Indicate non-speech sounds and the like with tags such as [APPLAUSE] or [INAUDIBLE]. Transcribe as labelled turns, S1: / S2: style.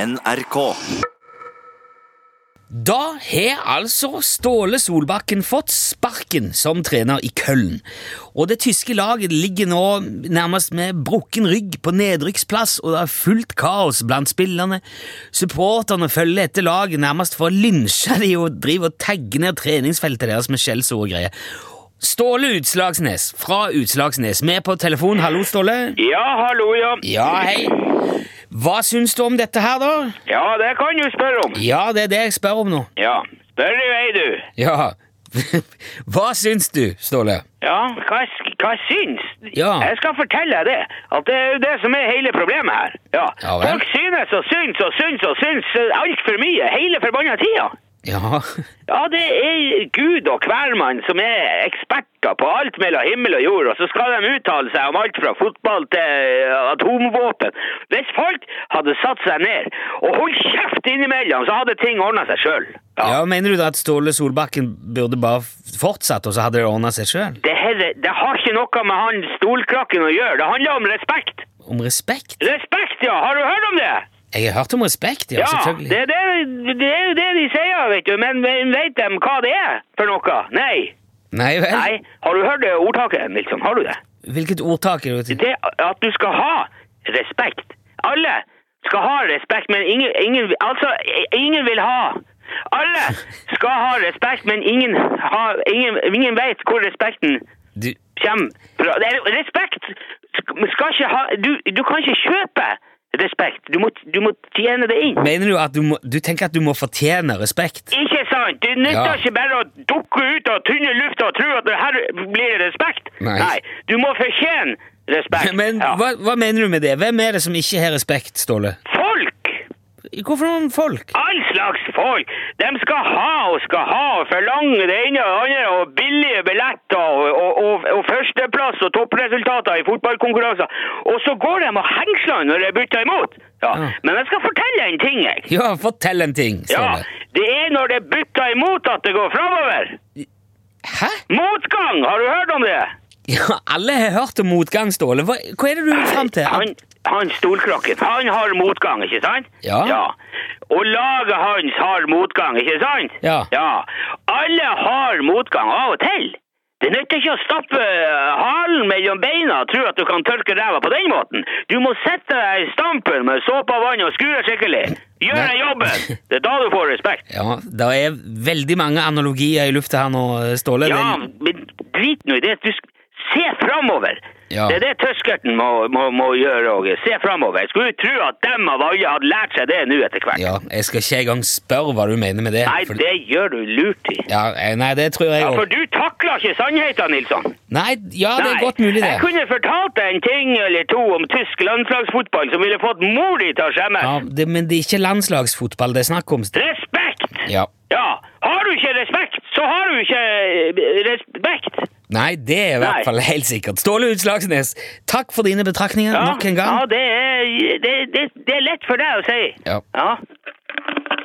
S1: NRK.
S2: Da har altså Ståle Solbakken fått sparken som trener i Køln. Og det tyske laget ligger nå nærmest med brukken rygg på nedrykksplass, og det er fullt kaos blant spillerne. Supporterne følger etter laget nærmest for å lynsje de og driver og tagger ned treningsfeltet deres med skjellsord og greier. Ståle Utslagsnes fra Utslagsnes, med på telefon. Hallo, Ståle.
S3: Ja, hallo, ja.
S2: Ja, hei. Hva syns du om dette her, da?
S3: Ja, det kan du spørre om.
S2: Ja, det er det jeg spør om nå.
S3: Ja, spør i vei, du.
S2: Ja. [LAUGHS] Hva syns du, Ståle?
S3: Ja, hva, s- hva syns?
S2: Ja.
S3: Jeg skal fortelle deg det, at det er jo det som er hele problemet her. Ja,
S2: Ja vel.
S3: folk synes og syns og syns og syns alt for mye, hele forbannet tida.
S2: Ja,
S3: Ja, det er Gud og hvermann som er eksperter på alt mellom himmel og jord, og så skal de uttale seg om alt fra fotball til eh, atomvåpen. Hvis folk hadde satt seg ned og holdt kjeft innimellom, så hadde ting ordnet seg selv.
S2: ja Mener du da at Ståle Solbakken burde bare f- fortsatt, og så hadde det ordna seg sjøl?
S3: Det, her, det har ikke noe med han stolkrakken å gjøre. Det handler om respekt.
S2: Om respekt?
S3: Respekt, ja! Har du hørt om det?
S2: Jeg har hørt om respekt, ja.
S3: Ja,
S2: selvfølgelig.
S3: det, er det, det er jo det de sier, vet du. Men men vet de hva det er for noe? Nei.
S2: Nei vel?
S3: Nei. Har du hørt det ordtaket, Nilsson? Har du det?
S2: Hvilket ordtak er det?
S3: Det at du skal ha respekt. Alle skal ha respekt, men ingen, ingen Altså, ingen vil ha. Alle skal ha respekt, men ingen, har, ingen, ingen vet hvor respekten
S2: Du,
S3: Kjem fra det er- Respekt sk- skal ikke ha du, du kan ikke kjøpe respekt. Du må, du må tjene det inn.
S2: mener du at du, må, du tenker at du må fortjene respekt?
S3: Ikke sant? Det nytter
S2: Ja.
S3: ikke bare å dukke ut av tynne lufta og tro at det her blir respekt.
S2: Nei.
S3: du må fortjene respekt.
S2: [LAUGHS] Men
S3: Ja.
S2: hva, hva mener du med det? Hvem er det som ikke har respekt, Ståle?
S3: Folk!
S2: Hvorfor noen folk?
S3: All slags folk! De skal ha og skal ha og forlange det ene og det andre og billige billetter og, og, og, og førsteplass og toppresultater i fotballkonkurranser. Og så går de og hengsler når det butter imot! Ja.
S2: Ja.
S3: Men jeg skal fortelle en ting, jeg.
S2: Ja, fortell en ting,
S3: Ja,
S2: Ståle.
S3: det er når det butter imot at det går framover!
S2: Hæ?
S3: Motgang! Har du hørt om det?
S2: Ja, alle har hørt om motgang, Ståle. Hva, hva er det du vil fram til? At-
S3: Han, han stolkrokken, han har motgang, ikke sant?
S2: Ja.
S3: Og laget hans har motgang, ikke sant?
S2: Ja.
S3: Alle har motgang av og til. Det nytter ikke å stappe eh, halen mellom beina og tro at du kan tørke ræva på den måten. Du må sette deg i stampen med såpe og vann og skure skikkelig. Gjør
S2: Nei.
S3: deg jobben! Det er da du får respekt.
S2: Ja, det er veldig mange analogier i lufta her nå, Ståle.
S3: Ja,
S2: Det-
S3: men drit nå i det. Du sk- se framover.
S2: Ja.
S3: Det er det tøskerten må, må, må gjøre, Åge. Se framover. Jeg skulle jo tro at dem av alle hadde lært seg det nå etter hvert.
S2: ja, jeg skal ikke engang spørre hva du mener med det.
S3: Nei,
S2: for-
S3: det gjør du lurt i.
S2: ja, eh, nei, det tror jeg
S3: Ja,
S2: òg.
S3: for du takler ikke sannheten, Nilsson.
S2: Nei, ja, det er
S3: Nei.
S2: godt mulig, det.
S3: Jeg kunne fortalt deg en ting eller to om tysk landslagsfotball som ville fått mor di til å skjemmes.
S2: Ja, det. Men det er ikke landslagsfotball det er snakk om. St-
S3: Respekt!
S2: Ja.
S3: Ja. Har du ikke respekt, så har du ikke eh, respekt.
S2: Nei, det er i hvert
S3: Nei.
S2: fall helt sikkert. Ståle Utslagsnes, takk for dine betraktninger nok en gang.
S3: Ja, det er, det, det, det er lett for deg å si.
S2: Ja.
S3: ja.